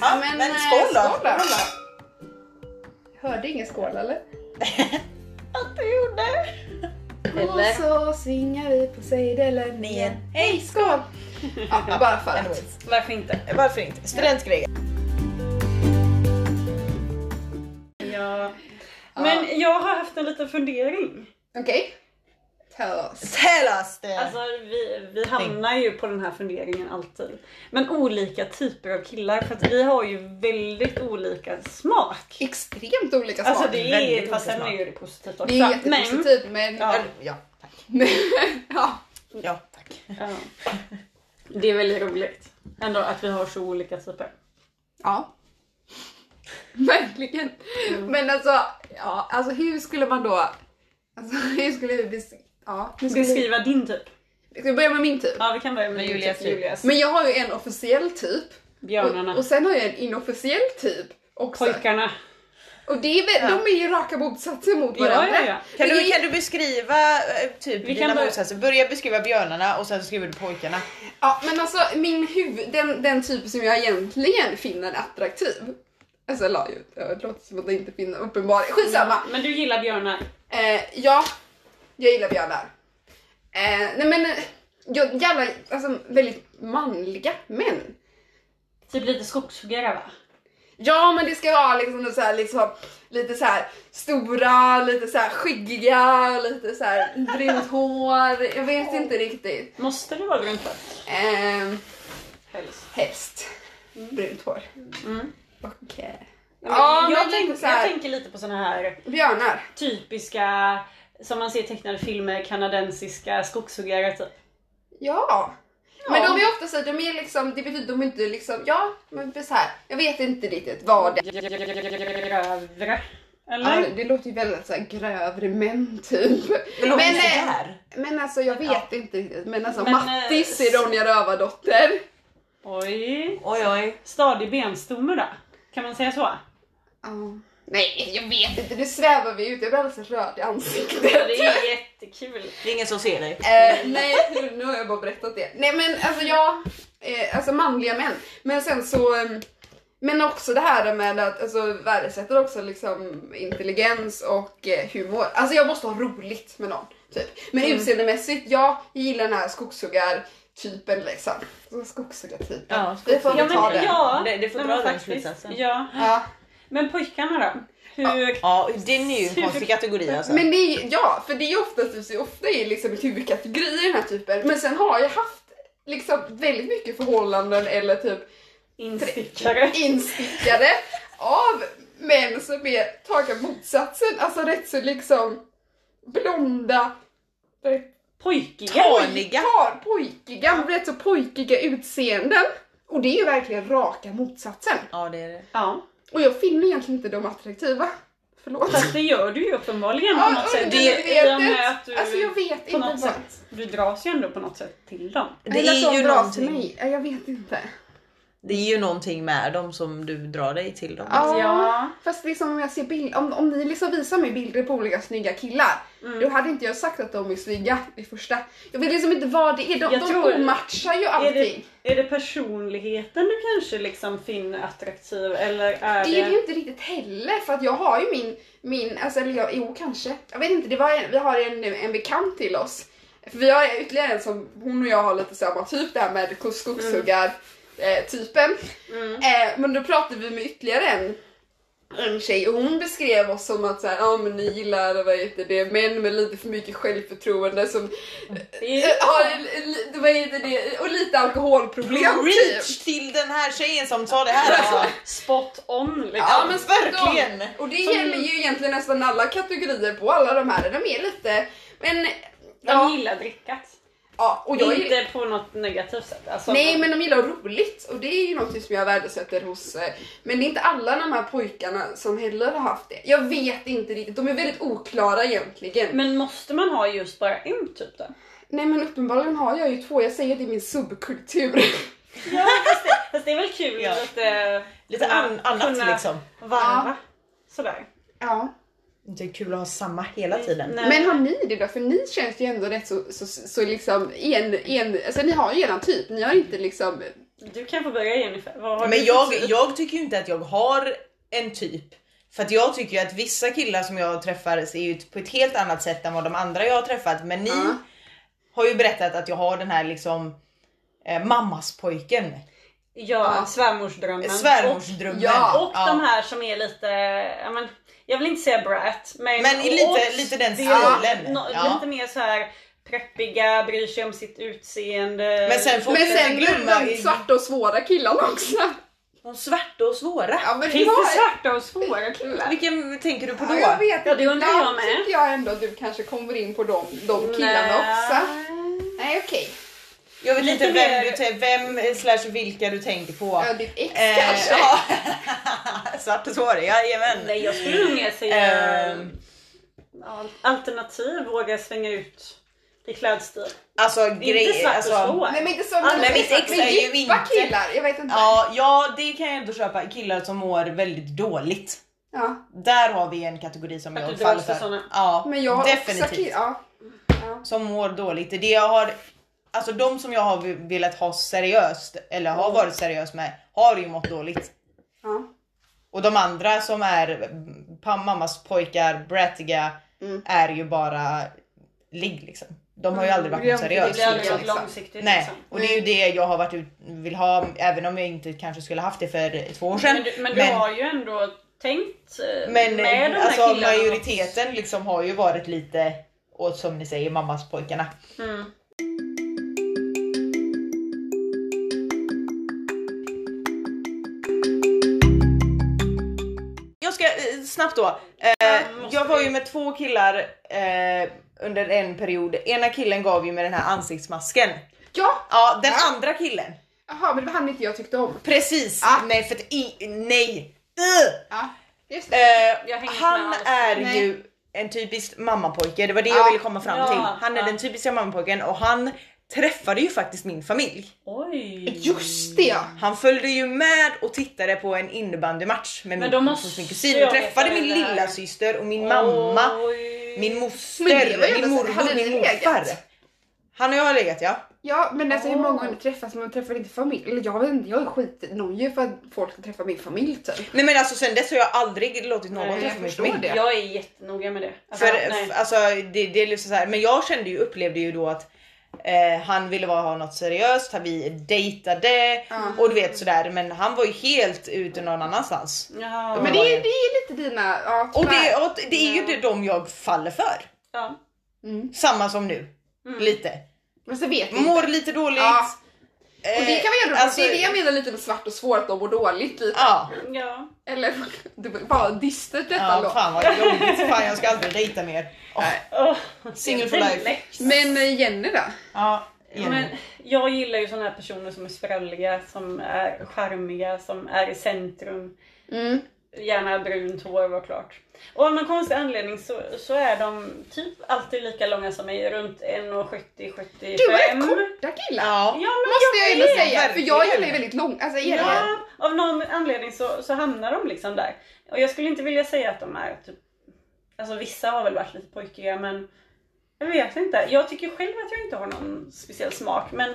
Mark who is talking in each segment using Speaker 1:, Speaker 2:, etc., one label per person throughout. Speaker 1: Ja,
Speaker 2: Men,
Speaker 1: men,
Speaker 2: eh,
Speaker 1: skål då!
Speaker 2: skål då.
Speaker 1: Skål då.
Speaker 2: Hörde ingen skål eller?
Speaker 1: Att du gjorde!
Speaker 2: Och så svingar vi på sejdelen igen. Hej skål! Ja, bara för att.
Speaker 1: Anyways,
Speaker 3: Varför inte?
Speaker 1: varför inte? Studentgrejer.
Speaker 3: Ja. Men jag har haft en liten fundering.
Speaker 2: Okej. Tell us.
Speaker 1: Tell us det!
Speaker 3: Alltså vi, vi hamnar ju på den här funderingen alltid. Men olika typer av killar för att vi har ju väldigt olika smak.
Speaker 2: Extremt olika smak.
Speaker 3: Alltså det är,
Speaker 1: väldigt
Speaker 3: fast sen
Speaker 1: olika
Speaker 3: är ju det positivt också.
Speaker 2: Det är jättepositivt men...
Speaker 1: ja, ja, tack.
Speaker 2: men ja.
Speaker 1: Ja, tack.
Speaker 3: Men, ja. Det är väldigt roligt ändå att vi har så olika typer.
Speaker 2: Ja. Verkligen. Men alltså, ja, alltså hur skulle man då... Alltså hur skulle vi bes- ja, hur skulle vi...
Speaker 3: Beskriva din typ.
Speaker 2: Ska vi börja med min typ?
Speaker 3: Ja vi kan börja med
Speaker 1: Men
Speaker 3: din
Speaker 1: Julias
Speaker 3: typ,
Speaker 1: typ.
Speaker 3: Julias.
Speaker 2: Men jag har ju en officiell typ.
Speaker 3: Björnarna.
Speaker 2: Och, och sen har jag en inofficiell typ också.
Speaker 3: Pojkarna.
Speaker 2: Och det är väl, de är ju raka motsatser mot
Speaker 3: Ja,
Speaker 2: varandra.
Speaker 3: ja, ja.
Speaker 1: Kan
Speaker 2: Det
Speaker 1: du,
Speaker 2: är-
Speaker 1: kan du beskriva eh, typ
Speaker 3: Vi kan
Speaker 1: dina
Speaker 3: börja-
Speaker 1: motsatser? Börja beskriva björnarna och sen skriver du pojkarna.
Speaker 2: Ja, men alltså min huvud, den, den typ som jag egentligen finner attraktiv. Alltså la ju, det låter som att jag inte finner uppenbar. Skitsamma.
Speaker 3: Men du gillar björnar.
Speaker 2: Eh, ja, jag gillar björnar. Eh, nej men, eh, jag gillar alltså, väldigt manliga män.
Speaker 3: Typ lite skogshuggare va?
Speaker 2: Ja, men det ska vara liksom, så här, liksom lite så här stora, lite så här skyggiga, lite så här brunt hår. Jag vet inte riktigt.
Speaker 3: Måste det vara brunt hår?
Speaker 2: Eh,
Speaker 3: Helst.
Speaker 2: helst brunt hår.
Speaker 3: Mm.
Speaker 2: Och eh,
Speaker 3: Ja, jag,
Speaker 2: Ja, men lite
Speaker 3: tänk,
Speaker 2: så här-
Speaker 3: jag tänker lite på såna här
Speaker 2: björnar.
Speaker 3: typiska som man ser i tecknade filmer, kanadensiska skogshuggare typ.
Speaker 2: Ja. Men de är ofta så att de är liksom, det betyder de är inte liksom, ja men så här, jag vet inte riktigt vad det
Speaker 3: Grövre. Eller?
Speaker 2: Ja, det låter ju väldigt så här grövre män typ.
Speaker 1: Men,
Speaker 2: Men, eh,
Speaker 1: där.
Speaker 2: men alltså jag vet inte riktigt. Men alltså
Speaker 3: Men, eh,
Speaker 2: Mattis i Ronja Rövardotter.
Speaker 3: Oj.
Speaker 1: Oj oj.
Speaker 3: Stadig benstomme då. Kan man säga så?
Speaker 2: Ja. Nej jag vet inte, nu svävar vi ut. Jag blir alldeles röd i ansiktet.
Speaker 3: Det är jättekul.
Speaker 1: Det är ingen som ser dig.
Speaker 2: Eh, nej, nu, nu har jag bara berättat det. Nej men alltså jag, eh, alltså manliga män. Men sen så, eh, men också det här med att alltså, värdesätter också liksom intelligens och eh, humor. Alltså jag måste ha roligt med någon. Typ.
Speaker 3: Mm.
Speaker 2: Men utseendemässigt, ja, jag gillar den här skogshuggartypen liksom. Så Skogshuggartypen.
Speaker 1: Ja,
Speaker 2: Vi får väl ta den.
Speaker 3: ja,
Speaker 1: Det- det får
Speaker 3: nej,
Speaker 1: dra
Speaker 3: men
Speaker 1: den
Speaker 3: faktiskt.
Speaker 1: slutsatsen.
Speaker 3: Ja.
Speaker 2: Ja.
Speaker 3: Men pojkarna då? Hur...
Speaker 1: Ja, det är ju en konstig kategori alltså.
Speaker 2: Men det är, ja, för det är oftast, det är ofta är liksom huvudkategori i den här typen. Men sen har jag haft liksom väldigt mycket förhållanden eller typ
Speaker 3: Instickare.
Speaker 2: instickade av män som är tagna motsatsen. Alltså rätt så liksom blonda, rätt
Speaker 3: Pojkiga.
Speaker 1: Ta- Pojkiga.
Speaker 2: pojkar, pojkiga, rätt så pojkiga utseenden. Och det är ju verkligen raka motsatsen.
Speaker 1: Ja, det är det.
Speaker 3: Ja.
Speaker 2: Och jag finner egentligen inte dem attraktiva. Förlåt.
Speaker 3: Fast det gör du ju uppenbarligen på något sätt.
Speaker 2: undermedvetet.
Speaker 3: i och med att du...
Speaker 2: Alltså jag vet
Speaker 3: på
Speaker 2: inte.
Speaker 3: något
Speaker 2: vad-
Speaker 3: sätt. Du dras ju ändå på något sätt till dem.
Speaker 1: Det
Speaker 2: Eller att
Speaker 1: är,
Speaker 2: de
Speaker 1: ju
Speaker 2: dras till
Speaker 1: någonting,
Speaker 2: mig. Ja, Jag vet inte.
Speaker 1: det är ju någonting med dem som du drar dig till dem.
Speaker 2: Ja.
Speaker 3: Alltså, Ja.
Speaker 2: Fast liksom om, jag ser bild, om, om ni liksom visar mig bilder på olika snygga killar,
Speaker 3: Mm.
Speaker 2: då hade inte jag sagt att de är snygga i första. Jag vet liksom inte vad det är, de,
Speaker 3: Jag
Speaker 2: de
Speaker 3: tror-
Speaker 2: omatchar ju
Speaker 3: Är
Speaker 2: allting.
Speaker 3: det,
Speaker 2: Det,
Speaker 3: är det personligheten du kanske liksom finner attraktiv eller är
Speaker 2: är
Speaker 3: det...
Speaker 2: det ju inte riktigt heller för att jag har ju min, min alltså eller jag, jo kanske, jag vet inte, det var en, vi har en, en bekant till oss. För vi har ytterligare en som, hon och jag har lite samma typ det här med skog- skogshuggar eh, typen. Eh, men då pratade vi med ytterligare en en tjej och hon beskrev oss som att så här, ah, men ni gillar vad heter det, män med lite för mycket självförtroende som eh, har en- en li- vad heter det, och lite alkoholproblem. Typ.
Speaker 1: Reach till den här tjejen som sa det här alltså.
Speaker 3: Spot on liksom.
Speaker 2: Ja men
Speaker 1: verkligen.
Speaker 2: verkligen! Och det
Speaker 3: Som-
Speaker 2: gäller ju egentligen nästan alla kategorier på alla de här, de är lite men
Speaker 3: De
Speaker 2: ja,
Speaker 3: gillar drickat.
Speaker 2: ja och jag
Speaker 3: Inte på något negativt sätt. Alltså,
Speaker 2: Nej men de gillar roligt och det är ju något som jag värdesätter hos eh, Men det är inte alla de här pojkarna som heller har haft det. Jag vet inte riktigt, de är väldigt oklara egentligen.
Speaker 3: Men måste man ha just bara en typ då?
Speaker 2: Nej men uppenbarligen har jag ju två, jag säger det är min subkultur.
Speaker 3: Ja, fast, det, fast det är väl kul
Speaker 1: Ja.
Speaker 3: lite...
Speaker 1: Lite an, annat liksom.
Speaker 3: Varva. Sådär.
Speaker 2: Ja.
Speaker 1: Inte kul att ha samma hela tiden.
Speaker 3: Nej.
Speaker 2: Men har ni det då? För ni känns ju ändå rätt så, så, så, så liksom en, en, alltså ni har ju eran typ, ni har inte liksom
Speaker 3: Du kan få börja Jennifer. Vad har
Speaker 1: Men
Speaker 3: du
Speaker 1: jag,
Speaker 3: för typ?
Speaker 1: jag tycker ju inte att jag har en typ. För att jag tycker ju att vissa killar som jag träffar ser ut på ett helt annat sätt än vad de andra jag har träffat. Men ni
Speaker 2: Ja.
Speaker 1: har ju berättat att jag har den här liksom eh, mammas pojken.
Speaker 3: Ja,
Speaker 2: Ja.
Speaker 3: svärmorsdrömmen.
Speaker 1: Svärmorsdrömmen.
Speaker 2: ja,
Speaker 3: Och, och de här som är lite, ja, men, jag vill inte säga brat. Men,
Speaker 1: Men i lite,
Speaker 3: och-
Speaker 1: lite den
Speaker 3: Ja,
Speaker 1: stilen.
Speaker 3: nå-
Speaker 1: Ja.
Speaker 3: Lite mer så här preppiga, bryr sig om sitt utseende.
Speaker 1: Men sen får
Speaker 2: Men
Speaker 1: vi
Speaker 2: sen
Speaker 1: inte glömma
Speaker 2: de svarta och svåra killarna också.
Speaker 1: de svarta och svåra.
Speaker 2: Ja, men
Speaker 3: Finns
Speaker 2: jag-
Speaker 3: det svarta och svåra killar?
Speaker 1: Vilken tänker du på då?
Speaker 2: Ja, jag vet
Speaker 3: Ja, det undrar
Speaker 2: Ibland
Speaker 3: jag med.
Speaker 2: tycker jag ändå att du kanske kommer in på de, de killarna också. Nej okej.
Speaker 1: Jag vet
Speaker 3: Lite
Speaker 1: inte vem,
Speaker 3: mer-
Speaker 1: du tän- vem eh, slash vilka du tänker på.
Speaker 2: Ja, ditt ex
Speaker 1: Eh,
Speaker 2: kanske.
Speaker 1: ja. Svart och svårig, jajamän.
Speaker 3: Nej jag skulle nog mer säga
Speaker 1: Ehm.
Speaker 3: al- alternativ, våga svänga ut i klädstil.
Speaker 1: Alltså
Speaker 3: inte
Speaker 1: grejer,
Speaker 3: svart och
Speaker 1: alltså.
Speaker 3: svår.
Speaker 2: Nej men inte så.
Speaker 1: men mitt ex
Speaker 2: men
Speaker 1: är ju
Speaker 2: djupa
Speaker 1: inte-
Speaker 2: killar, jag vet inte.
Speaker 1: Ja, ja, det kan jag ändå köpa. Killar som mår väldigt dåligt.
Speaker 2: Ja,
Speaker 1: Där har vi en kategori som
Speaker 3: Att
Speaker 1: jag
Speaker 3: du
Speaker 1: faller
Speaker 3: dras till
Speaker 1: för.
Speaker 3: såna.
Speaker 1: Ja,
Speaker 2: Men jag har
Speaker 1: definitivt.
Speaker 2: också killar. Ja. Ja.
Speaker 1: Som mår dåligt. Det jag har, alltså de som jag har velat ha seriöst, eller har
Speaker 2: Mm.
Speaker 1: varit seriös med, har ju mått dåligt.
Speaker 2: Ja.
Speaker 1: Och de andra som är mm, pa- mammas pojkar, brattiga,
Speaker 2: Mm.
Speaker 1: är ju bara ligg liksom. De har ju aldrig varit
Speaker 2: Mm,
Speaker 1: något
Speaker 2: det
Speaker 3: Det
Speaker 1: seriöst.
Speaker 3: blir aldrig
Speaker 2: liksom.
Speaker 3: något långsiktigt.
Speaker 1: Nej,
Speaker 3: liksom.
Speaker 1: och det är ju det jag har varit ut, vill ha, även om jag inte kanske skulle haft det för två år sedan.
Speaker 3: Men, du, men du har ju ändå tänkt eh,
Speaker 1: men,
Speaker 3: med de här
Speaker 1: alltså
Speaker 3: killarna.
Speaker 1: majoriteten liksom har ju varit lite åt som ni säger mammas pojkarna.
Speaker 3: Mm.
Speaker 1: Jag ska eh, snabbt då. Eh,
Speaker 3: måste
Speaker 1: jag var
Speaker 3: vi-
Speaker 1: ju med två killar eh, under en period. Ena killen gav ju med den här ansiktsmasken.
Speaker 2: ja,
Speaker 1: Ja, den
Speaker 2: Ja.
Speaker 1: andra killen.
Speaker 2: jaha men det var han inte jag tyckte om.
Speaker 1: Precis.
Speaker 2: Ah.
Speaker 1: Nej, för att i, nej. Ugh.
Speaker 2: Ja, just det.
Speaker 1: Eh,
Speaker 3: Eh, Jag hänger inte
Speaker 1: han
Speaker 3: med alls.
Speaker 1: är
Speaker 2: Nej.
Speaker 1: ju en typisk mammapojke, det var det
Speaker 2: Ja.
Speaker 1: jag ville komma fram
Speaker 3: Ja,
Speaker 1: till. Han är
Speaker 3: ja.
Speaker 1: den typiska mammapojken och han träffade ju faktiskt min familj.
Speaker 3: Oj.
Speaker 2: Just det ja.
Speaker 1: Han följde ju med och tittade på en innebandymatch med
Speaker 3: Men
Speaker 1: min,
Speaker 3: då måste
Speaker 1: hos min kusin
Speaker 3: jag
Speaker 1: och träffade
Speaker 3: veta
Speaker 1: min
Speaker 3: det här.
Speaker 1: lilla syster och min mamma,
Speaker 3: Oj.
Speaker 1: min
Speaker 2: Men det var
Speaker 1: moster,
Speaker 2: ju ändå
Speaker 1: min
Speaker 2: så- hade
Speaker 1: morbror,
Speaker 2: ni
Speaker 1: min
Speaker 2: legat?
Speaker 1: morfar. Han och jag har legat ja.
Speaker 2: Ja men alltså hur
Speaker 3: Åh.
Speaker 2: många har ni träffats? Man träffar inte familj. Eller jag vet inte, jag är skitnojig för att folk ska träffa min familj typ.
Speaker 1: Nej men alltså sen dess har jag aldrig låtit någon
Speaker 3: Nej, jag
Speaker 1: träffa min
Speaker 2: förstår
Speaker 1: familj.
Speaker 2: det.
Speaker 3: Jag är jättenoga med det. Alltså,
Speaker 1: För,
Speaker 3: nej.
Speaker 1: f- alltså, det, det är liksom så här. Men jag kände ju, upplevde ju då att eh, han ville vara, ha något seriöst, han- vi dejtade
Speaker 2: Ja.
Speaker 1: och du vet sådär. Men han var ju helt ute någon annanstans.
Speaker 3: Ja.
Speaker 2: Men det är, det är lite dina, ja
Speaker 1: Och
Speaker 2: tyvärr.
Speaker 1: det, och det är ju
Speaker 3: Ja.
Speaker 1: det, de jag faller för.
Speaker 3: ja.
Speaker 2: Mm.
Speaker 1: Samma som nu.
Speaker 3: Mm.
Speaker 1: Lite.
Speaker 2: Men så vet jag
Speaker 1: Mår lite dåligt.
Speaker 2: Ja. Och det
Speaker 1: eh,
Speaker 2: kan man göra,
Speaker 1: alltså-
Speaker 2: det är det jag menar lite med svart och svårt, de mår dåligt lite.
Speaker 1: Ja,
Speaker 3: ja.
Speaker 2: Eller det var fan dystert detta
Speaker 1: ja
Speaker 2: låt.
Speaker 1: fan vad jobbigt. Fan jag ska aldrig dejta mer. Oh,
Speaker 3: Åh,
Speaker 1: single for
Speaker 3: det är
Speaker 1: life.
Speaker 3: lätt.
Speaker 2: Men eh, Jenny då?
Speaker 1: Ja, Jenny.
Speaker 3: Men jag gillar ju såna här personer som är spralliga, som är charmiga, som är i centrum.
Speaker 2: Mm.
Speaker 3: Gärna brunt hår var klart. Och av någon konstig anledning så, så är de typ alltid lika långa som mig, runt 1,70-75.
Speaker 2: Du är korta killar!
Speaker 3: Ja,
Speaker 1: Ja.
Speaker 3: men
Speaker 2: Måste jag ändå
Speaker 3: vet.
Speaker 2: säga, för jag
Speaker 1: verkligen.
Speaker 2: gillar ju väldigt lång, alltså är det?
Speaker 3: Ja, av någon anledning så, så hamnar de liksom där. Och jag skulle inte vilja säga att de är typ... Alltså vissa har väl varit lite pojkiga men jag vet inte. Jag tycker själv att jag inte har någon speciell smak men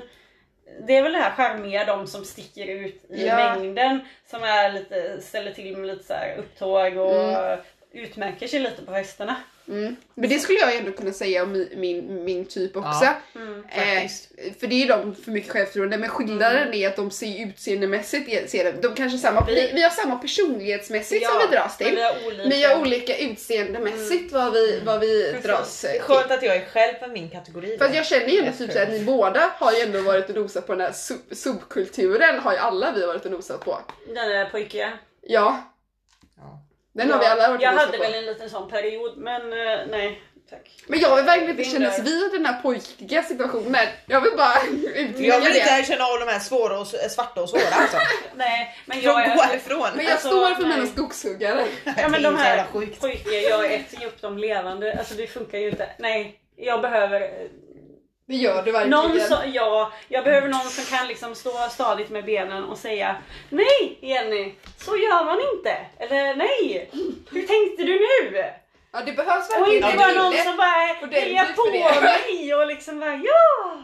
Speaker 3: det är väl det här charmiga, de som sticker ut i
Speaker 2: Ja.
Speaker 3: mängden som är lite, ställer till med lite så här upptåg och utmärker sig lite på festerna.
Speaker 2: Mm. Men det skulle jag ändå kunna säga om min, min, min typ också.
Speaker 1: Ja,
Speaker 3: Mm.
Speaker 2: eh,
Speaker 1: faktiskt. Mm.
Speaker 2: för det är ju de för mycket självförtroende, men skillnaden är att de ser utseendemässigt, är- ser de, de kanske samma, vi, vi har samma personlighetsmässigt som vi dras
Speaker 3: men vi
Speaker 2: till.
Speaker 3: har olika.
Speaker 2: Men vi har olika utseendemässigt vad vi, vad vi
Speaker 3: Mm. Precis.
Speaker 2: dras eh, till.
Speaker 1: Skönt att jag är själv för min kategori.
Speaker 2: För att
Speaker 1: då.
Speaker 2: jag känner ju ändå
Speaker 1: Jag
Speaker 2: typ
Speaker 1: tror.
Speaker 2: såhär, ni båda har ju ändå varit och nosat på den här sub- subkulturen, har ju alla vi varit och nosat på.
Speaker 3: Den är pojkiga.
Speaker 2: Ja,
Speaker 1: Ja.
Speaker 2: den har vi alla varit
Speaker 3: Jag
Speaker 2: och nosat
Speaker 3: hade
Speaker 2: på.
Speaker 3: väl en liten sån period men eh, nej tack.
Speaker 2: Men jag vill verkligen inte
Speaker 3: Min
Speaker 2: kännas
Speaker 3: dörr.
Speaker 2: vid den här pojkiga situationen. Jag vill bara
Speaker 1: Jag
Speaker 2: utreda
Speaker 1: vill inte
Speaker 2: det.
Speaker 1: erkänna av de här svåra och, s- svarta och svåra alltså.
Speaker 3: Nej, men
Speaker 1: Jag
Speaker 3: jag
Speaker 1: går
Speaker 3: är...
Speaker 1: härifrån.
Speaker 2: Men jag
Speaker 3: Alltså,
Speaker 2: står för mina
Speaker 3: nej.
Speaker 2: skogshuggare.
Speaker 3: Ja men de
Speaker 1: Det är så
Speaker 3: här
Speaker 1: jävla sjukt.
Speaker 3: pojkar, jag äter ju upp dem levande. Alltså det funkar ju inte. Nej, jag behöver eh,
Speaker 2: Det gör du verkligen.
Speaker 3: någon som, ja, jag behöver någon som kan liksom stå stadigt med benen och säga Nej Jenny, så gör man inte. Eller nej, hur tänkte du nu?
Speaker 2: Ja, det behövs
Speaker 3: Och
Speaker 2: verkligen
Speaker 3: inte
Speaker 2: en
Speaker 3: bara någon
Speaker 2: kille.
Speaker 3: som bara hejar
Speaker 2: ordentligt
Speaker 3: på
Speaker 2: för det.
Speaker 3: mig och liksom bara ja!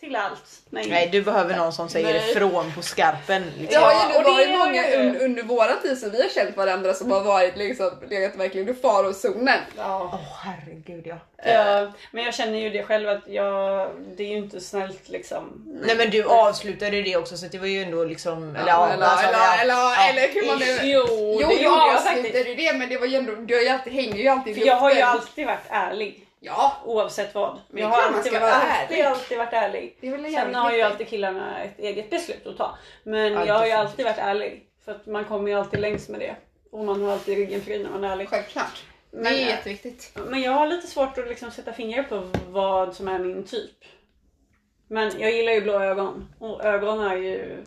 Speaker 3: till allt. Nej.
Speaker 1: Nej, du behöver någon som säger
Speaker 2: Nej.
Speaker 1: ifrån på skarpen.
Speaker 2: Det
Speaker 1: Liksom.
Speaker 2: har ju
Speaker 3: Ja, och
Speaker 2: ändå
Speaker 3: det
Speaker 2: varit
Speaker 3: har
Speaker 2: många
Speaker 3: ju-
Speaker 2: un, under våra tid som vi har känt varandra som har varit liksom, legat verkligen i farozonen.
Speaker 3: Ja.
Speaker 1: Åh herregud ja.
Speaker 3: Ja, Eh, men jag känner ju det själv att jag, det är ju inte snällt liksom.
Speaker 1: Nej men du avslutade ju det också så det var ju ändå liksom...
Speaker 2: Eller, eller,
Speaker 1: alltså,
Speaker 2: eller, eller, eller hur man nu...
Speaker 3: Jo,
Speaker 2: Jo,
Speaker 3: det gjorde
Speaker 2: du
Speaker 3: jag faktiskt.
Speaker 2: avslutade ju det men det var ju ändå, du har ju alltid, hänger ju alltid i
Speaker 3: För jag har ju
Speaker 2: luften.
Speaker 3: alltid varit ärlig.
Speaker 2: Ja,
Speaker 3: Oavsett vad.
Speaker 2: Det är
Speaker 3: Jag har
Speaker 2: klart man
Speaker 3: alltid
Speaker 2: ska
Speaker 3: varit,
Speaker 2: vara
Speaker 3: alltid,
Speaker 2: ärlig.
Speaker 3: alltid varit ärlig.
Speaker 2: det är väl
Speaker 3: Sen
Speaker 2: jävligt
Speaker 3: har ju
Speaker 2: viktigt.
Speaker 3: alltid killarna ett eget beslut att ta. Men
Speaker 1: Ja,
Speaker 3: jag har ju
Speaker 1: definitivt.
Speaker 3: alltid varit ärlig. För att man kommer ju alltid längst med det. Och man har alltid ryggen fri när man är ärlig.
Speaker 2: Självklart. Det är
Speaker 3: Men-
Speaker 2: ju jätteviktigt.
Speaker 3: Men jag har lite svårt att liksom sätta fingrar på vad som är min typ. Men jag gillar ju blå ögon. Och ögon är ju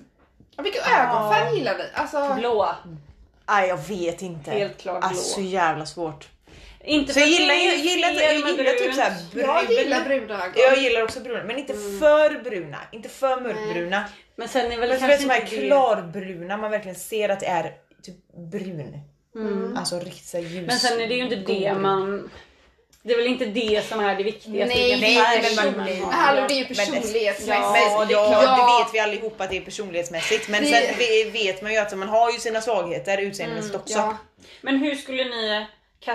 Speaker 2: Ja, vilken
Speaker 1: Ja.
Speaker 2: ögonfärg gillar vi? Alltså,
Speaker 3: blåa.
Speaker 1: Nej jag vet inte.
Speaker 3: Helt klart blå.
Speaker 1: Alltså så jävla svårt.
Speaker 3: Inte
Speaker 1: Så
Speaker 3: för
Speaker 1: jag
Speaker 3: att
Speaker 1: gillar,
Speaker 3: det är
Speaker 1: jag gillar,
Speaker 3: fel
Speaker 1: jag
Speaker 3: med
Speaker 1: gillar typ
Speaker 3: brunt.
Speaker 1: såhär
Speaker 2: jag gillar
Speaker 1: bruna.
Speaker 2: bruna ögon.
Speaker 1: Jag gillar också bruna men inte
Speaker 3: Mm.
Speaker 1: för bruna, inte för mörkbruna.
Speaker 3: Men sen är väl
Speaker 1: Men
Speaker 3: kanske
Speaker 1: det som är
Speaker 3: inte det-
Speaker 1: klarbruna, man verkligen ser att det är typ brun.
Speaker 3: Mm.
Speaker 1: Alltså riktigt så här ljus.
Speaker 3: Men sen är det ju inte det
Speaker 1: godbrun.
Speaker 3: man... Det är väl inte det som är det viktigaste.
Speaker 2: Nej,
Speaker 3: vilken
Speaker 1: nej,
Speaker 3: färg
Speaker 1: men man-
Speaker 2: Men
Speaker 3: har.
Speaker 2: hallå, det är ju
Speaker 1: Men det-
Speaker 2: personlighetsmässigt.
Speaker 3: Ja,
Speaker 1: Men,
Speaker 3: det är
Speaker 1: ja,
Speaker 2: klart.
Speaker 1: det vet vi allihopa att det är personlighetsmässigt men
Speaker 2: Det-
Speaker 1: sen ve- vet man ju att man har ju sina svagheter utseendemässigt
Speaker 3: Mm,
Speaker 1: också.
Speaker 2: Ja.
Speaker 3: Men hur skulle ni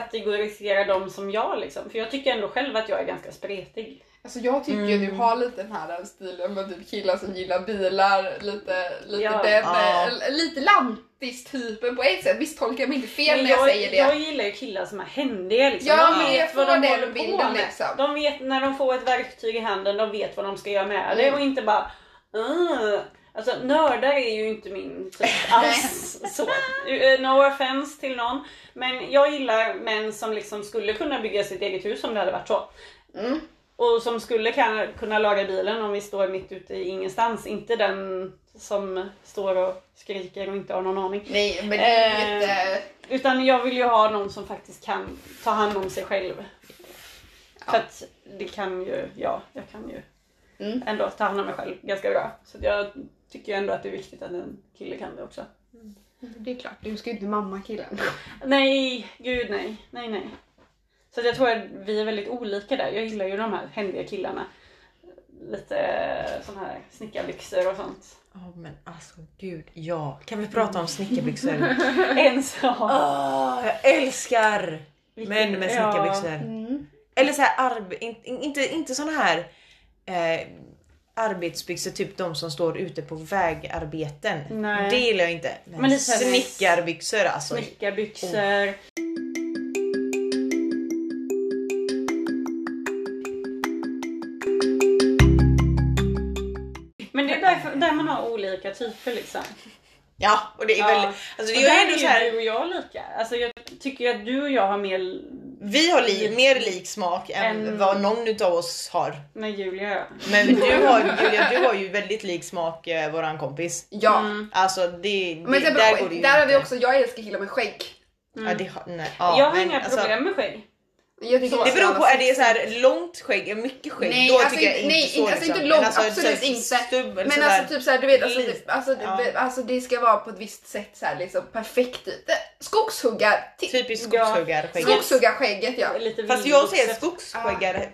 Speaker 3: kategorisera dem som jag liksom? För jag tycker ändå själv att jag är ganska spretig.
Speaker 2: Alltså jag tycker ju att du har lite den här stilen med typ killar som gillar bilar, lite, lite,
Speaker 3: Ja.
Speaker 2: den,
Speaker 1: Ja.
Speaker 2: eh, lite lantis-typen på ett sätt. Visst tolkar jag mig inte fel
Speaker 3: Men
Speaker 2: när jag,
Speaker 3: jag,
Speaker 2: säger det.
Speaker 3: jag gillar ju killar som är händiga liksom.
Speaker 2: Ja,
Speaker 3: de
Speaker 2: men
Speaker 3: vet
Speaker 2: jag
Speaker 3: vad de
Speaker 2: får den
Speaker 3: håller på
Speaker 2: bilden,
Speaker 3: med.
Speaker 2: liksom.
Speaker 3: De vet när de får ett verktyg i handen, de vet vad de ska göra med det
Speaker 2: Mm.
Speaker 3: och inte bara "Ah." Alltså nördar är ju inte min typ alls så. Eh, No offense till någon. Men jag gillar män som liksom skulle kunna bygga sitt eget hus om det hade varit så.
Speaker 2: Mm.
Speaker 3: Och som skulle kan- kunna laga bilen om vi står mitt ute i ingenstans. Inte den som står och skriker och inte har någon aning.
Speaker 2: Nej, men det är ju
Speaker 3: Eh,
Speaker 2: inte...
Speaker 3: Utan jag vill ju ha någon som faktiskt kan ta hand om sig själv. För att det kan ju, ja, jag kan ju
Speaker 2: Mm.
Speaker 3: ändå ta hand om mig själv ganska bra. Så att jag tycker ju ändå att det är viktigt att en kille kan det också.
Speaker 2: Det är klart, du ska ju inte mamma killen.
Speaker 3: Nej, gud nej, nej, nej. Så att jag tror att vi är väldigt olika där. Jag gillar ju de här händiga killarna. Lite sån här snickarbyxor och sånt.
Speaker 1: Ja men alltså gud ja. Kan vi prata om snickarbyxor?
Speaker 3: En sak.
Speaker 1: Åh, jag älskar män med snickarbyxor.
Speaker 2: Mm.
Speaker 1: Eller så här, arb- in, in, inte, inte såna här eh, arbetsbyxor, typ de som står ute på vägarbeten.
Speaker 3: Nej.
Speaker 1: Det gillar jag inte. Men,
Speaker 3: Men lite så här-
Speaker 1: snickarbyxor alltså.
Speaker 3: Snickarbyxor. Men det är därför, där man har olika typer liksom.
Speaker 1: Ja, och det är
Speaker 3: Ja.
Speaker 1: väl... Alltså det
Speaker 3: Och
Speaker 1: är ju
Speaker 3: där
Speaker 1: ändå
Speaker 3: ju
Speaker 1: så här,
Speaker 3: du och jag lika. Alltså jag tycker ju att du och jag har mer
Speaker 1: vi har li,
Speaker 2: Mm.
Speaker 1: mer lik smak än
Speaker 3: En-
Speaker 1: vad någon utav oss har.
Speaker 3: med Julia och jag.
Speaker 1: Men du har, Julia, du har ju väldigt lik smak, eh, våran kompis.
Speaker 2: Ja.
Speaker 3: Mm.
Speaker 1: Alltså det, det
Speaker 2: Men sen,
Speaker 1: där går det
Speaker 2: där,
Speaker 1: ju
Speaker 2: där har vi
Speaker 1: inte.
Speaker 2: också, jag älskar killar med skägg.
Speaker 1: Ja, det, har- nej, ja,
Speaker 3: jag har
Speaker 1: men
Speaker 3: inga
Speaker 1: alltså-
Speaker 3: problem med skägg.
Speaker 2: Jag tycker
Speaker 1: Det
Speaker 2: inte
Speaker 1: beror
Speaker 2: så
Speaker 1: på, är
Speaker 2: jävla
Speaker 1: det så här långt skägg, mycket skägg?
Speaker 2: Nej,
Speaker 1: då
Speaker 2: alltså
Speaker 1: tycker jag
Speaker 2: inte-
Speaker 1: inte
Speaker 2: nej,
Speaker 1: så liksom.
Speaker 2: inte- alltså inte långt,
Speaker 1: så här
Speaker 2: absolut inte.
Speaker 1: typ Stubb, eller
Speaker 2: Men
Speaker 1: så
Speaker 2: alltså typ såhär, du vet, alltså,
Speaker 1: Lite.
Speaker 2: det, alltså, det, alltså det ska vara på ett visst sätt såhär liksom perfekt. Det- Skogshuggar! Ti-
Speaker 1: typiskt skogshuggarskegg.
Speaker 2: Skogshuggarskägget ja.
Speaker 3: Lite
Speaker 1: Fast jag säger
Speaker 3: vildvuxet.
Speaker 1: skogshuggar... Äh,
Speaker 3: Mm.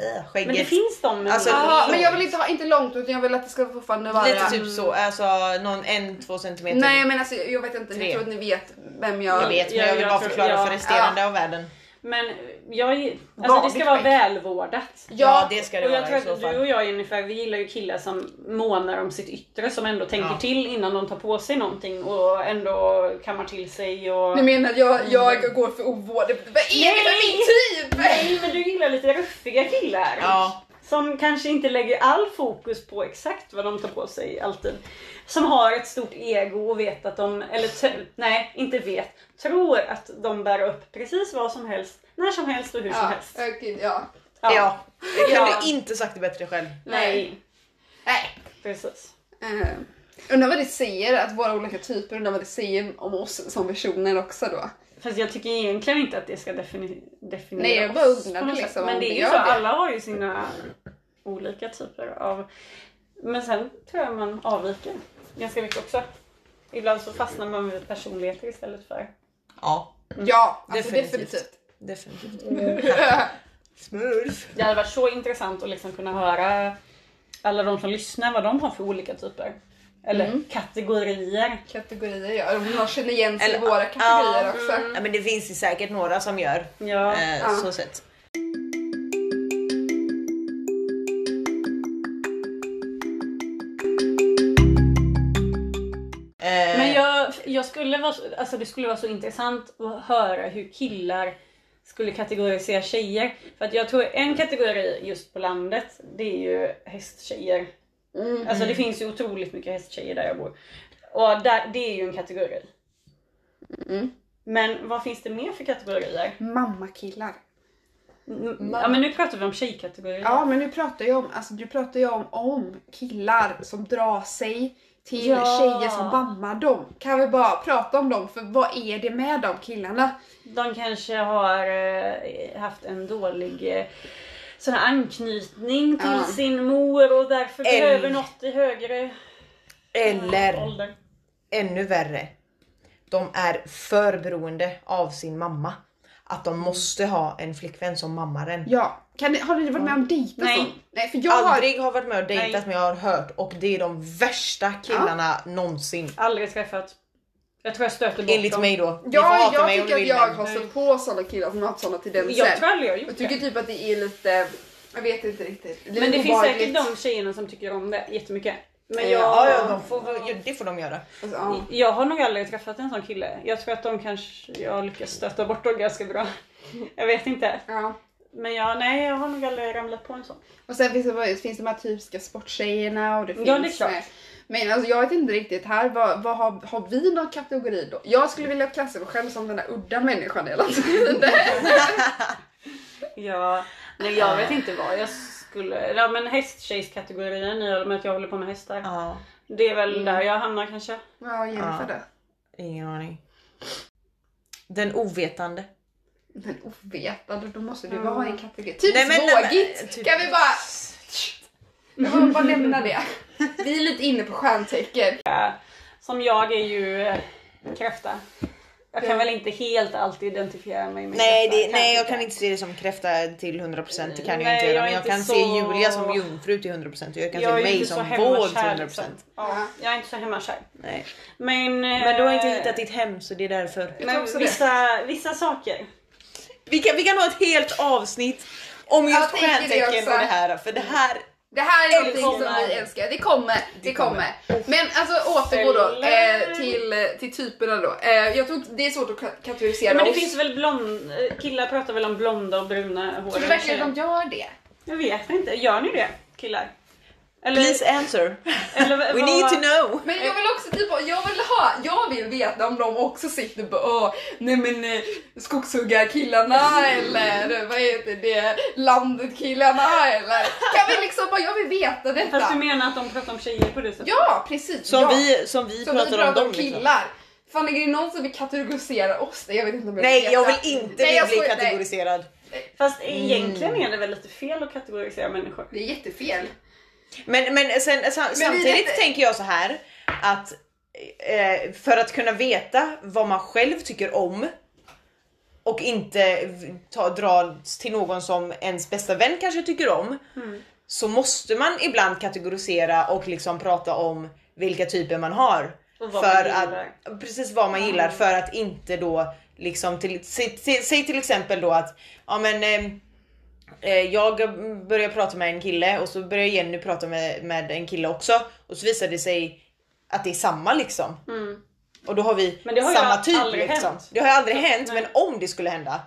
Speaker 3: Men det
Speaker 1: Skägget.
Speaker 3: finns de med
Speaker 1: Alltså-
Speaker 3: vildvuxet.
Speaker 2: Jaha, men jag vill inte ha, inte långt utan jag vill att det ska fortfarande vara...
Speaker 1: Lite typ så, alltså någon en, två centimeter.
Speaker 2: Nej men alltså jag vet inte,
Speaker 1: Tre.
Speaker 2: jag tror att ni vet vem
Speaker 1: jag
Speaker 2: jag...
Speaker 1: vet men
Speaker 3: Ja,
Speaker 1: jag vill
Speaker 3: jag
Speaker 1: bara
Speaker 3: tror-
Speaker 1: förklara
Speaker 3: ja,
Speaker 1: för resterande av världen.
Speaker 3: Men jag, alltså det
Speaker 2: Vanligt
Speaker 3: ska vara
Speaker 2: skägg.
Speaker 3: välvårdat.
Speaker 1: Ja,
Speaker 2: Ja,
Speaker 1: det ska det
Speaker 3: Och jag
Speaker 1: vara
Speaker 3: tror
Speaker 1: i så
Speaker 3: att du
Speaker 1: fall.
Speaker 3: och jag Jennifer, vi gillar ju killar som månar om sitt yttre som ändå tänker
Speaker 1: Ja.
Speaker 3: till innan de tar på sig någonting och ändå kammar till sig och...
Speaker 2: ni menar jag,
Speaker 1: Mm.
Speaker 2: jag går för ovårdad. Vad är det för min typ?
Speaker 3: Nej men du gillar lite ruffiga killar.
Speaker 1: Ja.
Speaker 3: Som kanske inte lägger all fokus på exakt vad de tar på sig alltid. Som har ett stort ego och vet att de, eller t- nej, inte vet, tror att de bär upp precis vad som helst, när som helst och hur som
Speaker 2: Ja,
Speaker 3: helst.
Speaker 2: okej, ja.
Speaker 1: Ja. Kan
Speaker 3: Ja.
Speaker 1: du inte sagt det bättre själv?
Speaker 3: Nej,
Speaker 2: Nej.
Speaker 3: precis.
Speaker 2: Eh, undrar vad det säger, att våra olika typer, undrar vad det säger om oss som personer också då.
Speaker 3: Fast jag tycker egentligen inte att det ska defini- definiera
Speaker 2: Nej, jag
Speaker 3: oss
Speaker 2: bara undrade
Speaker 3: på något
Speaker 2: liksom
Speaker 3: sätt.
Speaker 2: om
Speaker 3: Men det
Speaker 2: det
Speaker 3: är ju
Speaker 2: gör
Speaker 3: så,
Speaker 2: det.
Speaker 3: alla har ju sina olika typer av... Men sen tror jag man avviker ganska mycket också. Ibland så fastnar man vid personligheter istället för...
Speaker 1: Ja,
Speaker 2: Ja, alltså
Speaker 1: Definitivt.
Speaker 2: definitivt.
Speaker 1: definitivt. Smurf.
Speaker 3: Det hade varit så intressant att liksom kunna höra alla de som lyssnar vad de har för olika typer. Eller
Speaker 2: Mm.
Speaker 3: kategorier.
Speaker 2: Kategorier ja, om någon känner igen sig i
Speaker 1: Eller-
Speaker 2: våra kategorier
Speaker 1: ja, Mm.
Speaker 2: också.
Speaker 1: Ja, men det finns ju säkert några som gör
Speaker 3: Ja.
Speaker 1: eh,
Speaker 2: Ja.
Speaker 1: så sett. Eh,
Speaker 3: Men jag, jag skulle vara, så- alltså det skulle vara så intressant att höra hur killar skulle kategorisera tjejer. För att jag tror en kategori just på landet, det är ju hästtjejer.
Speaker 2: Mm.
Speaker 3: Alltså det finns ju otroligt mycket hästtjejer där jag bor. Och där, det är ju en kategori.
Speaker 2: Mm.
Speaker 3: Men vad finns det mer för kategorier?
Speaker 2: Mammakillar.
Speaker 3: Mm, Ja men nu pratar vi om tjejkategorier.
Speaker 2: Ja men nu pratar jag om, alltså, du pratar ju om, om killar som drar sig till
Speaker 3: Ja.
Speaker 2: tjejer som mammar dem. Kan vi bara prata om dem för vad är det med de killarna?
Speaker 3: De kanske har eh, haft en dålig eh, sån här anknytning till
Speaker 2: Ja.
Speaker 3: sin mor och därför
Speaker 1: Eller-
Speaker 3: behöver något i högre eh,
Speaker 1: Eh, Eller
Speaker 3: ålder.
Speaker 1: ännu värre. De är för beroende av sin mamma. Att de måste ha en flickvän som mammar en.
Speaker 2: Ja, kan ni, har ni varit med om dejter
Speaker 3: Nej.
Speaker 2: sånt? Nej. för jag har...
Speaker 1: Aldrig har varit med och
Speaker 3: Nej.
Speaker 1: dejtat men jag har hört och det är de värsta killarna någonsin.
Speaker 3: Aldrig träffat. Jag tror jag stöter bort
Speaker 1: Enligt
Speaker 3: dem.
Speaker 1: mig då. Ni får
Speaker 2: Ja,
Speaker 1: hata
Speaker 2: jag
Speaker 1: mig om
Speaker 2: tycker
Speaker 1: ni
Speaker 2: att
Speaker 1: vill,
Speaker 2: jag
Speaker 1: men-
Speaker 2: har stött på sådana killar som har haft sådana tendenser.
Speaker 3: Jag tror aldrig jag har gjort
Speaker 2: Jag tycker
Speaker 3: det.
Speaker 2: typ att det är lite, jag vet inte riktigt. lite
Speaker 3: Men det finns säkert
Speaker 2: obehagligt.
Speaker 3: de tjejerna som tycker om det jättemycket. Men jag,
Speaker 1: Eh, Ja, ja, de får, ja, det får de göra.
Speaker 2: Alltså, ja.
Speaker 3: jag har nog aldrig träffat en sån kille. Jag tror att de kanske, jag lyckas stöta bort dem ganska bra. Jag vet inte.
Speaker 2: Ja.
Speaker 3: Men jag, nej jag har nog aldrig ramlat på en sån.
Speaker 2: Och sen finns det, bara- finns de här typiska sporttjejerna och det finns...
Speaker 3: Ja, det är klart.
Speaker 2: eh, Men alltså, jag vet inte riktigt här, vad, vad har, har vi någon kategori då? Jag skulle vilja klassa mig själv som den där udda människan hela tiden.
Speaker 3: Ja, nej jag vet inte vad jag skulle... Ja men hästtjejskategorin i och med att jag håller på med hästar.
Speaker 1: Ja, Mm.
Speaker 3: Det är väl där jag hamnar kanske.
Speaker 2: Ja, Jennifer
Speaker 1: Ja.
Speaker 2: det.
Speaker 1: ingen aning. Den ovetande.
Speaker 2: Men ovetande, då måste du
Speaker 3: Ja.
Speaker 2: bara ha en kategori. Typ
Speaker 1: Nej, men- nej,
Speaker 2: svågigt!
Speaker 1: men- typ-
Speaker 2: Kan vi bara... Jag får bara lämna det. Vi är lite inne på stjärntecken.
Speaker 3: Som jag är ju eh, kräfta. Jag kan väl inte helt alltid identifiera mig med
Speaker 1: Nej,
Speaker 3: kräfta,
Speaker 1: det, nej jag
Speaker 3: tycka.
Speaker 1: kan inte se det som kräfta till 100% det kan jag
Speaker 3: Nej,
Speaker 1: inte göra.
Speaker 3: jag är
Speaker 1: Men jag
Speaker 3: inte
Speaker 1: kan
Speaker 3: så-
Speaker 1: se Julia som jungfru till 100% och jag kan
Speaker 3: Jag är
Speaker 1: se
Speaker 3: ju
Speaker 1: mig
Speaker 3: inte så
Speaker 1: som
Speaker 3: hemmakär,
Speaker 1: våld till 100%.
Speaker 3: liksom. Ja, jag är inte så hemmakär.
Speaker 1: Nej.
Speaker 3: Men,
Speaker 1: Men du har inte
Speaker 3: eh,
Speaker 1: hittat ditt hem så det är därför.
Speaker 2: Jag tror
Speaker 3: Men
Speaker 2: också det.
Speaker 3: vissa, vissa saker.
Speaker 1: Vi kan, vi kan ha ett helt avsnitt om just
Speaker 2: Jag tänker det
Speaker 1: stjärntecken
Speaker 2: också.
Speaker 1: och det här. För det här,
Speaker 2: Det här är
Speaker 3: Det
Speaker 2: någonting som
Speaker 3: kommer.
Speaker 2: vi älskar. Det kommer, det kommer. Men alltså återgå då eh, till, till typerna då. Eh, jag tror det är svårt att ka- kategorisera
Speaker 3: Men det
Speaker 2: oss.
Speaker 3: finns väl blond... eh, Killar pratar väl om blonda och bruna hår.
Speaker 2: Tror du verkligen att de gör det?
Speaker 3: Jag vet inte. Gör ni det killar? Eller,
Speaker 1: please answer.
Speaker 3: eller
Speaker 1: We
Speaker 3: vad-
Speaker 1: need to know.
Speaker 2: Men jag vill också typ, jag vill ha, jag vill veta om de också sitter på, åh, nej men eh, skogshuggarkillarna eller vad heter det, landetkillarna eller. Kan vi liksom bara, jag vill veta
Speaker 3: Fast du
Speaker 2: detta.
Speaker 3: menar att de pratar om tjejer på det sättet?
Speaker 2: Ja, precis.
Speaker 1: Som,
Speaker 2: ja.
Speaker 1: vi, som vi
Speaker 2: Som
Speaker 1: pratar om dem. liksom.
Speaker 2: killar. Fan är det någon som vill kategorisera oss? Nej, jag vet inte om jag
Speaker 1: Nej
Speaker 2: veta.
Speaker 1: jag vill inte
Speaker 2: Nej, jag
Speaker 1: bli
Speaker 2: skojar. Nej,
Speaker 1: kategoriserad.
Speaker 3: Fast
Speaker 2: Mm.
Speaker 3: egentligen är det väl lite fel att kategorisera människor?
Speaker 2: Det är jättefel.
Speaker 1: Men, men, sen, sam,
Speaker 2: vi
Speaker 1: samtidigt
Speaker 2: vet-
Speaker 1: tänker jag så här att eh, för att kunna veta vad man själv tycker om och inte v- ta, dra till någon som ens bästa vän kanske tycker om
Speaker 3: Mm.
Speaker 1: så måste man ibland kategorisera och liksom prata om vilka typer man har.
Speaker 3: Och vad
Speaker 1: för
Speaker 3: man gillar.
Speaker 1: att, precis vad man gillar för att inte då liksom till, säg, säg- säg till exempel då att ja men eh, Eh, jag börjar prata med en kille och så börjar Jenny prata med, med en kille också och så visar det sig att det är samma liksom.
Speaker 3: Mm.
Speaker 1: Och då har vi
Speaker 3: Men det har ju
Speaker 1: samma
Speaker 3: all-
Speaker 1: typ
Speaker 3: aldrig
Speaker 1: liksom.
Speaker 3: hänt.
Speaker 1: Det har ju aldrig hänt
Speaker 3: nej.
Speaker 1: men om det skulle hända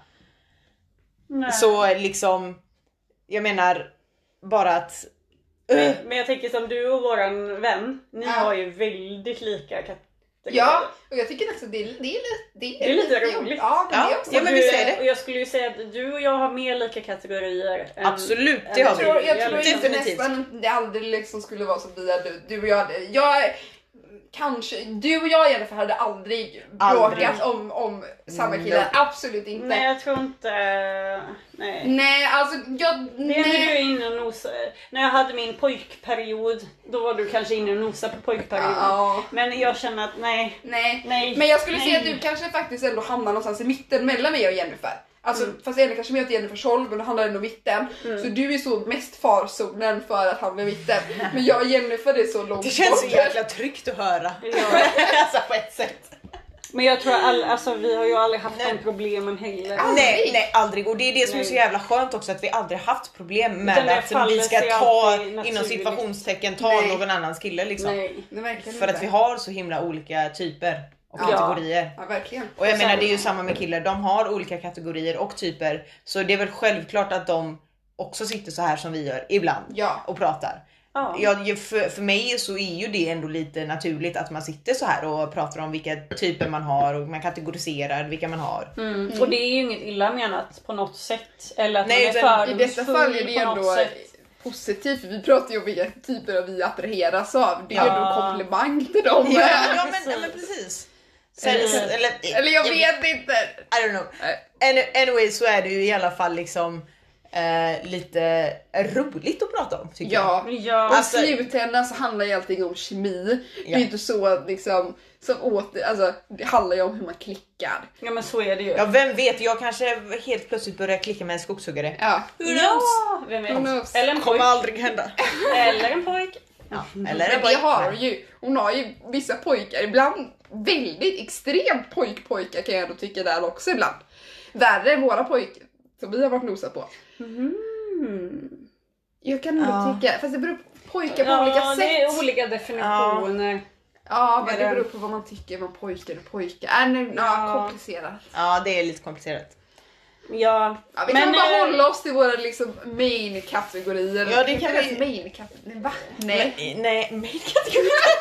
Speaker 3: Nej.
Speaker 1: så eh, liksom, jag menar bara att Ugh.
Speaker 3: Men jag tänker som du och våran vän, ni
Speaker 2: Ja.
Speaker 3: har ju väldigt lika kategorier.
Speaker 2: Ja, och jag tycker också det är, det är, lite- det är,
Speaker 3: Det är lite
Speaker 2: jobbigt.
Speaker 3: roligt.
Speaker 2: Ja, men det är
Speaker 1: Ja,
Speaker 2: också
Speaker 1: ja, men
Speaker 3: Du-
Speaker 1: visst är det.
Speaker 3: Och jag skulle ju säga att du och jag har mer lika kategorier än...
Speaker 1: absolut det
Speaker 3: jag liksom-
Speaker 1: har
Speaker 2: Jag tror,
Speaker 1: vi.
Speaker 2: jag tror inte
Speaker 1: Definitivt.
Speaker 2: nästan det aldrig liksom skulle vara så vi hade, du och jag, hade- jag kanske, du och jag i alla fall hade aldrig
Speaker 1: Aldrig.
Speaker 2: bråkat om, om samma kille,
Speaker 1: Nej.
Speaker 2: absolut inte.
Speaker 3: Nej
Speaker 2: Nej,
Speaker 3: jag tror inte... Nej.
Speaker 2: alltså jag,
Speaker 3: Det är när du
Speaker 2: nej.
Speaker 3: är inne och nosar. När jag hade min pojkperiod, då var du kanske inne och nosade på pojkperioden.
Speaker 2: Ja,
Speaker 3: Men jag känner att nej.
Speaker 2: nej.
Speaker 3: Nej.
Speaker 2: Men jag skulle
Speaker 3: Nej.
Speaker 2: säga att du kanske faktiskt ändå hamnar någonstans i mitten mellan mig och Jennifer. Alltså,
Speaker 1: Mm.
Speaker 2: Fast Elin kanske mer åt Jennifers håll men han är ändå mitten. Så du är så mest farzonen för att han är mitten. Men jag och Jennifer är så långt
Speaker 1: Det känns så
Speaker 2: bort.
Speaker 1: jäkla tryggt att höra.
Speaker 3: Ja.
Speaker 1: alltså på ett sätt.
Speaker 3: Men jag tror all, alltså, vi har ju aldrig haft
Speaker 1: Nej.
Speaker 3: de problemen heller.
Speaker 2: Mm. Aldrig.
Speaker 1: Nej, nej aldrig. Och det är det som är så
Speaker 3: Nej.
Speaker 1: jävla skönt också att vi aldrig haft problem
Speaker 3: Utan det
Speaker 1: med att
Speaker 3: faller
Speaker 1: vi ska
Speaker 3: sig
Speaker 1: ta
Speaker 3: alltid
Speaker 1: inom
Speaker 3: naturligt.
Speaker 1: situationstecken ta
Speaker 2: Nej.
Speaker 1: någon annans kille liksom.
Speaker 3: Nej.
Speaker 2: Nej, verkligen
Speaker 1: För
Speaker 2: inte.
Speaker 1: att vi har så himla olika typer och
Speaker 2: Ja.
Speaker 1: kategorier.
Speaker 2: Ja, verkligen.
Speaker 1: Och jag
Speaker 3: Och
Speaker 1: menar
Speaker 3: sen-
Speaker 1: det är ju samma med killar, de har olika kategorier och typer. Så det är väl självklart att de också sitter så här som vi gör ibland
Speaker 2: Ja.
Speaker 1: och pratar.
Speaker 3: Ja.
Speaker 1: Ja, ju- för, för mig så är ju det ändå lite naturligt att man sitter så här och pratar om vilka typer man har och man kategoriserar vilka man har.
Speaker 3: Mm. Och det är ju inget illa menat på något sätt. Eller att
Speaker 1: Nej,
Speaker 3: man är
Speaker 1: utan
Speaker 2: I
Speaker 3: fördomsfull
Speaker 2: detta fall är det ju
Speaker 3: på något
Speaker 2: ändå
Speaker 3: sätt.
Speaker 2: positivt. Vi pratar ju om vilka typer av vi attraheras av. Det är ju
Speaker 1: Ja.
Speaker 2: ändå en komplimang till dem.
Speaker 1: Ja, ja, men, ja men precis. Sen,
Speaker 3: Mm.
Speaker 1: sen- eller,
Speaker 2: Eller jag vet inte.
Speaker 1: I don't know.
Speaker 2: Nej.
Speaker 1: Any- Anyway så är det ju i alla fall liksom eh, lite roligt att prata om tycker jag.
Speaker 2: Ja. Och
Speaker 3: Ja.
Speaker 1: Alltså-
Speaker 2: i slutändan så handlar ju allting om kemi. Det är ju inte så att liksom, som åter, alltså, det handlar ju om hur man klickar.
Speaker 3: ja men så är det ju.
Speaker 1: Ja vem vet, jag kanske helt plötsligt börjar klicka med en skogshuggare.
Speaker 2: Ja.
Speaker 3: Ja, vem
Speaker 2: Who
Speaker 3: vet?
Speaker 2: knows?
Speaker 3: Eller en
Speaker 1: Kommer
Speaker 3: pojk.
Speaker 1: aldrig hända.
Speaker 3: Eller en pojk.
Speaker 1: Ja, eller
Speaker 2: Men det har hon ju. Hon har ju vissa pojkar, ibland väldigt extremt pojkpojkar kan jag ändå tycka där också ibland. Värre än våra pojkar som vi har varit nosa på.
Speaker 3: Mm.
Speaker 2: Jag kan nog
Speaker 1: Ja.
Speaker 2: tycka, fast det beror på pojkar på olika sätt.
Speaker 3: det är olika definitioner.
Speaker 2: Ja, men
Speaker 3: Eller-
Speaker 2: det beror på vad man tycker om pojkar och pojkar. Äh, nu, ja.
Speaker 3: Ja.
Speaker 2: komplicerat.
Speaker 1: Ja det är lite komplicerat.
Speaker 3: Ja.
Speaker 2: Ja, vi
Speaker 3: Men,
Speaker 2: kan bara
Speaker 3: eh,
Speaker 2: hålla oss till våra liksom main-kategorier.
Speaker 1: Ja, det
Speaker 2: Inte
Speaker 1: kan
Speaker 2: ens
Speaker 1: vi-
Speaker 2: Main-kategorier, va? Nej.
Speaker 1: Men, nej men kategorier.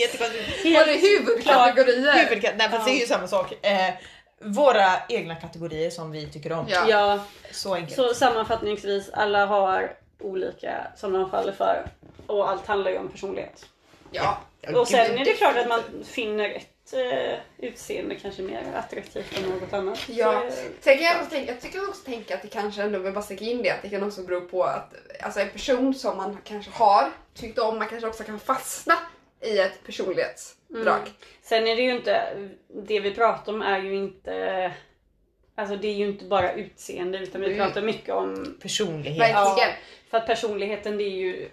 Speaker 1: Jättekonstigt.
Speaker 2: Våra huvudkategorier.
Speaker 1: Huvudka- nej fast det är ju samma sak. Eh, våra egna kategorier som vi tycker om.
Speaker 2: Ja.
Speaker 3: Ja,
Speaker 1: Så enkelt.
Speaker 3: så sammanfattningsvis, alla har olika som de faller för. Och allt handlar ju om personlighet.
Speaker 2: Ja.
Speaker 1: Ja,
Speaker 3: Och sen
Speaker 1: gud.
Speaker 3: är det klart att man finner ett eh, utseende kanske mer attraktivt än något annat.
Speaker 2: Ja.
Speaker 3: Så, eh,
Speaker 2: Sen kan jag, också tänka, jag tycker också tänka att det kanske ändå, men bara sticka in det, att det kan också bero på att alltså en person som man kanske har tyckt om, man kanske också kan fastna i ett personlighetsdrag.
Speaker 1: Mm.
Speaker 3: Sen är det ju inte, det vi pratar om är ju inte, alltså det är ju inte bara utseende utan vi
Speaker 2: Mm.
Speaker 3: pratar mycket om,
Speaker 1: Personlighet.
Speaker 2: Verkligen.
Speaker 3: för att personligheten det är ju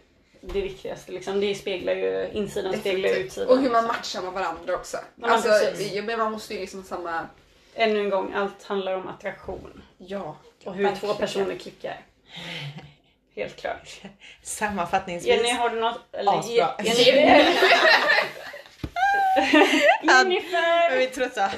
Speaker 3: det viktigaste liksom. Det speglar ju, insidan speglar ju
Speaker 2: Definitivt.
Speaker 3: utsidan.
Speaker 2: Och hur man
Speaker 3: liksom.
Speaker 2: matchar med varandra också.
Speaker 3: men
Speaker 2: alltså,
Speaker 3: precis.
Speaker 2: ja, men man måste ju liksom ha samma...
Speaker 3: Ännu en gång, allt handlar om attraktion
Speaker 2: Ja.
Speaker 3: och hur två
Speaker 2: verkligen.
Speaker 3: personer klickar. Helt klart.
Speaker 1: Sammanfattningsvis.
Speaker 3: Jenny, har du något? Eller,
Speaker 1: Asbra.
Speaker 3: Jenny, Jennifer!
Speaker 1: Men vi är trötta.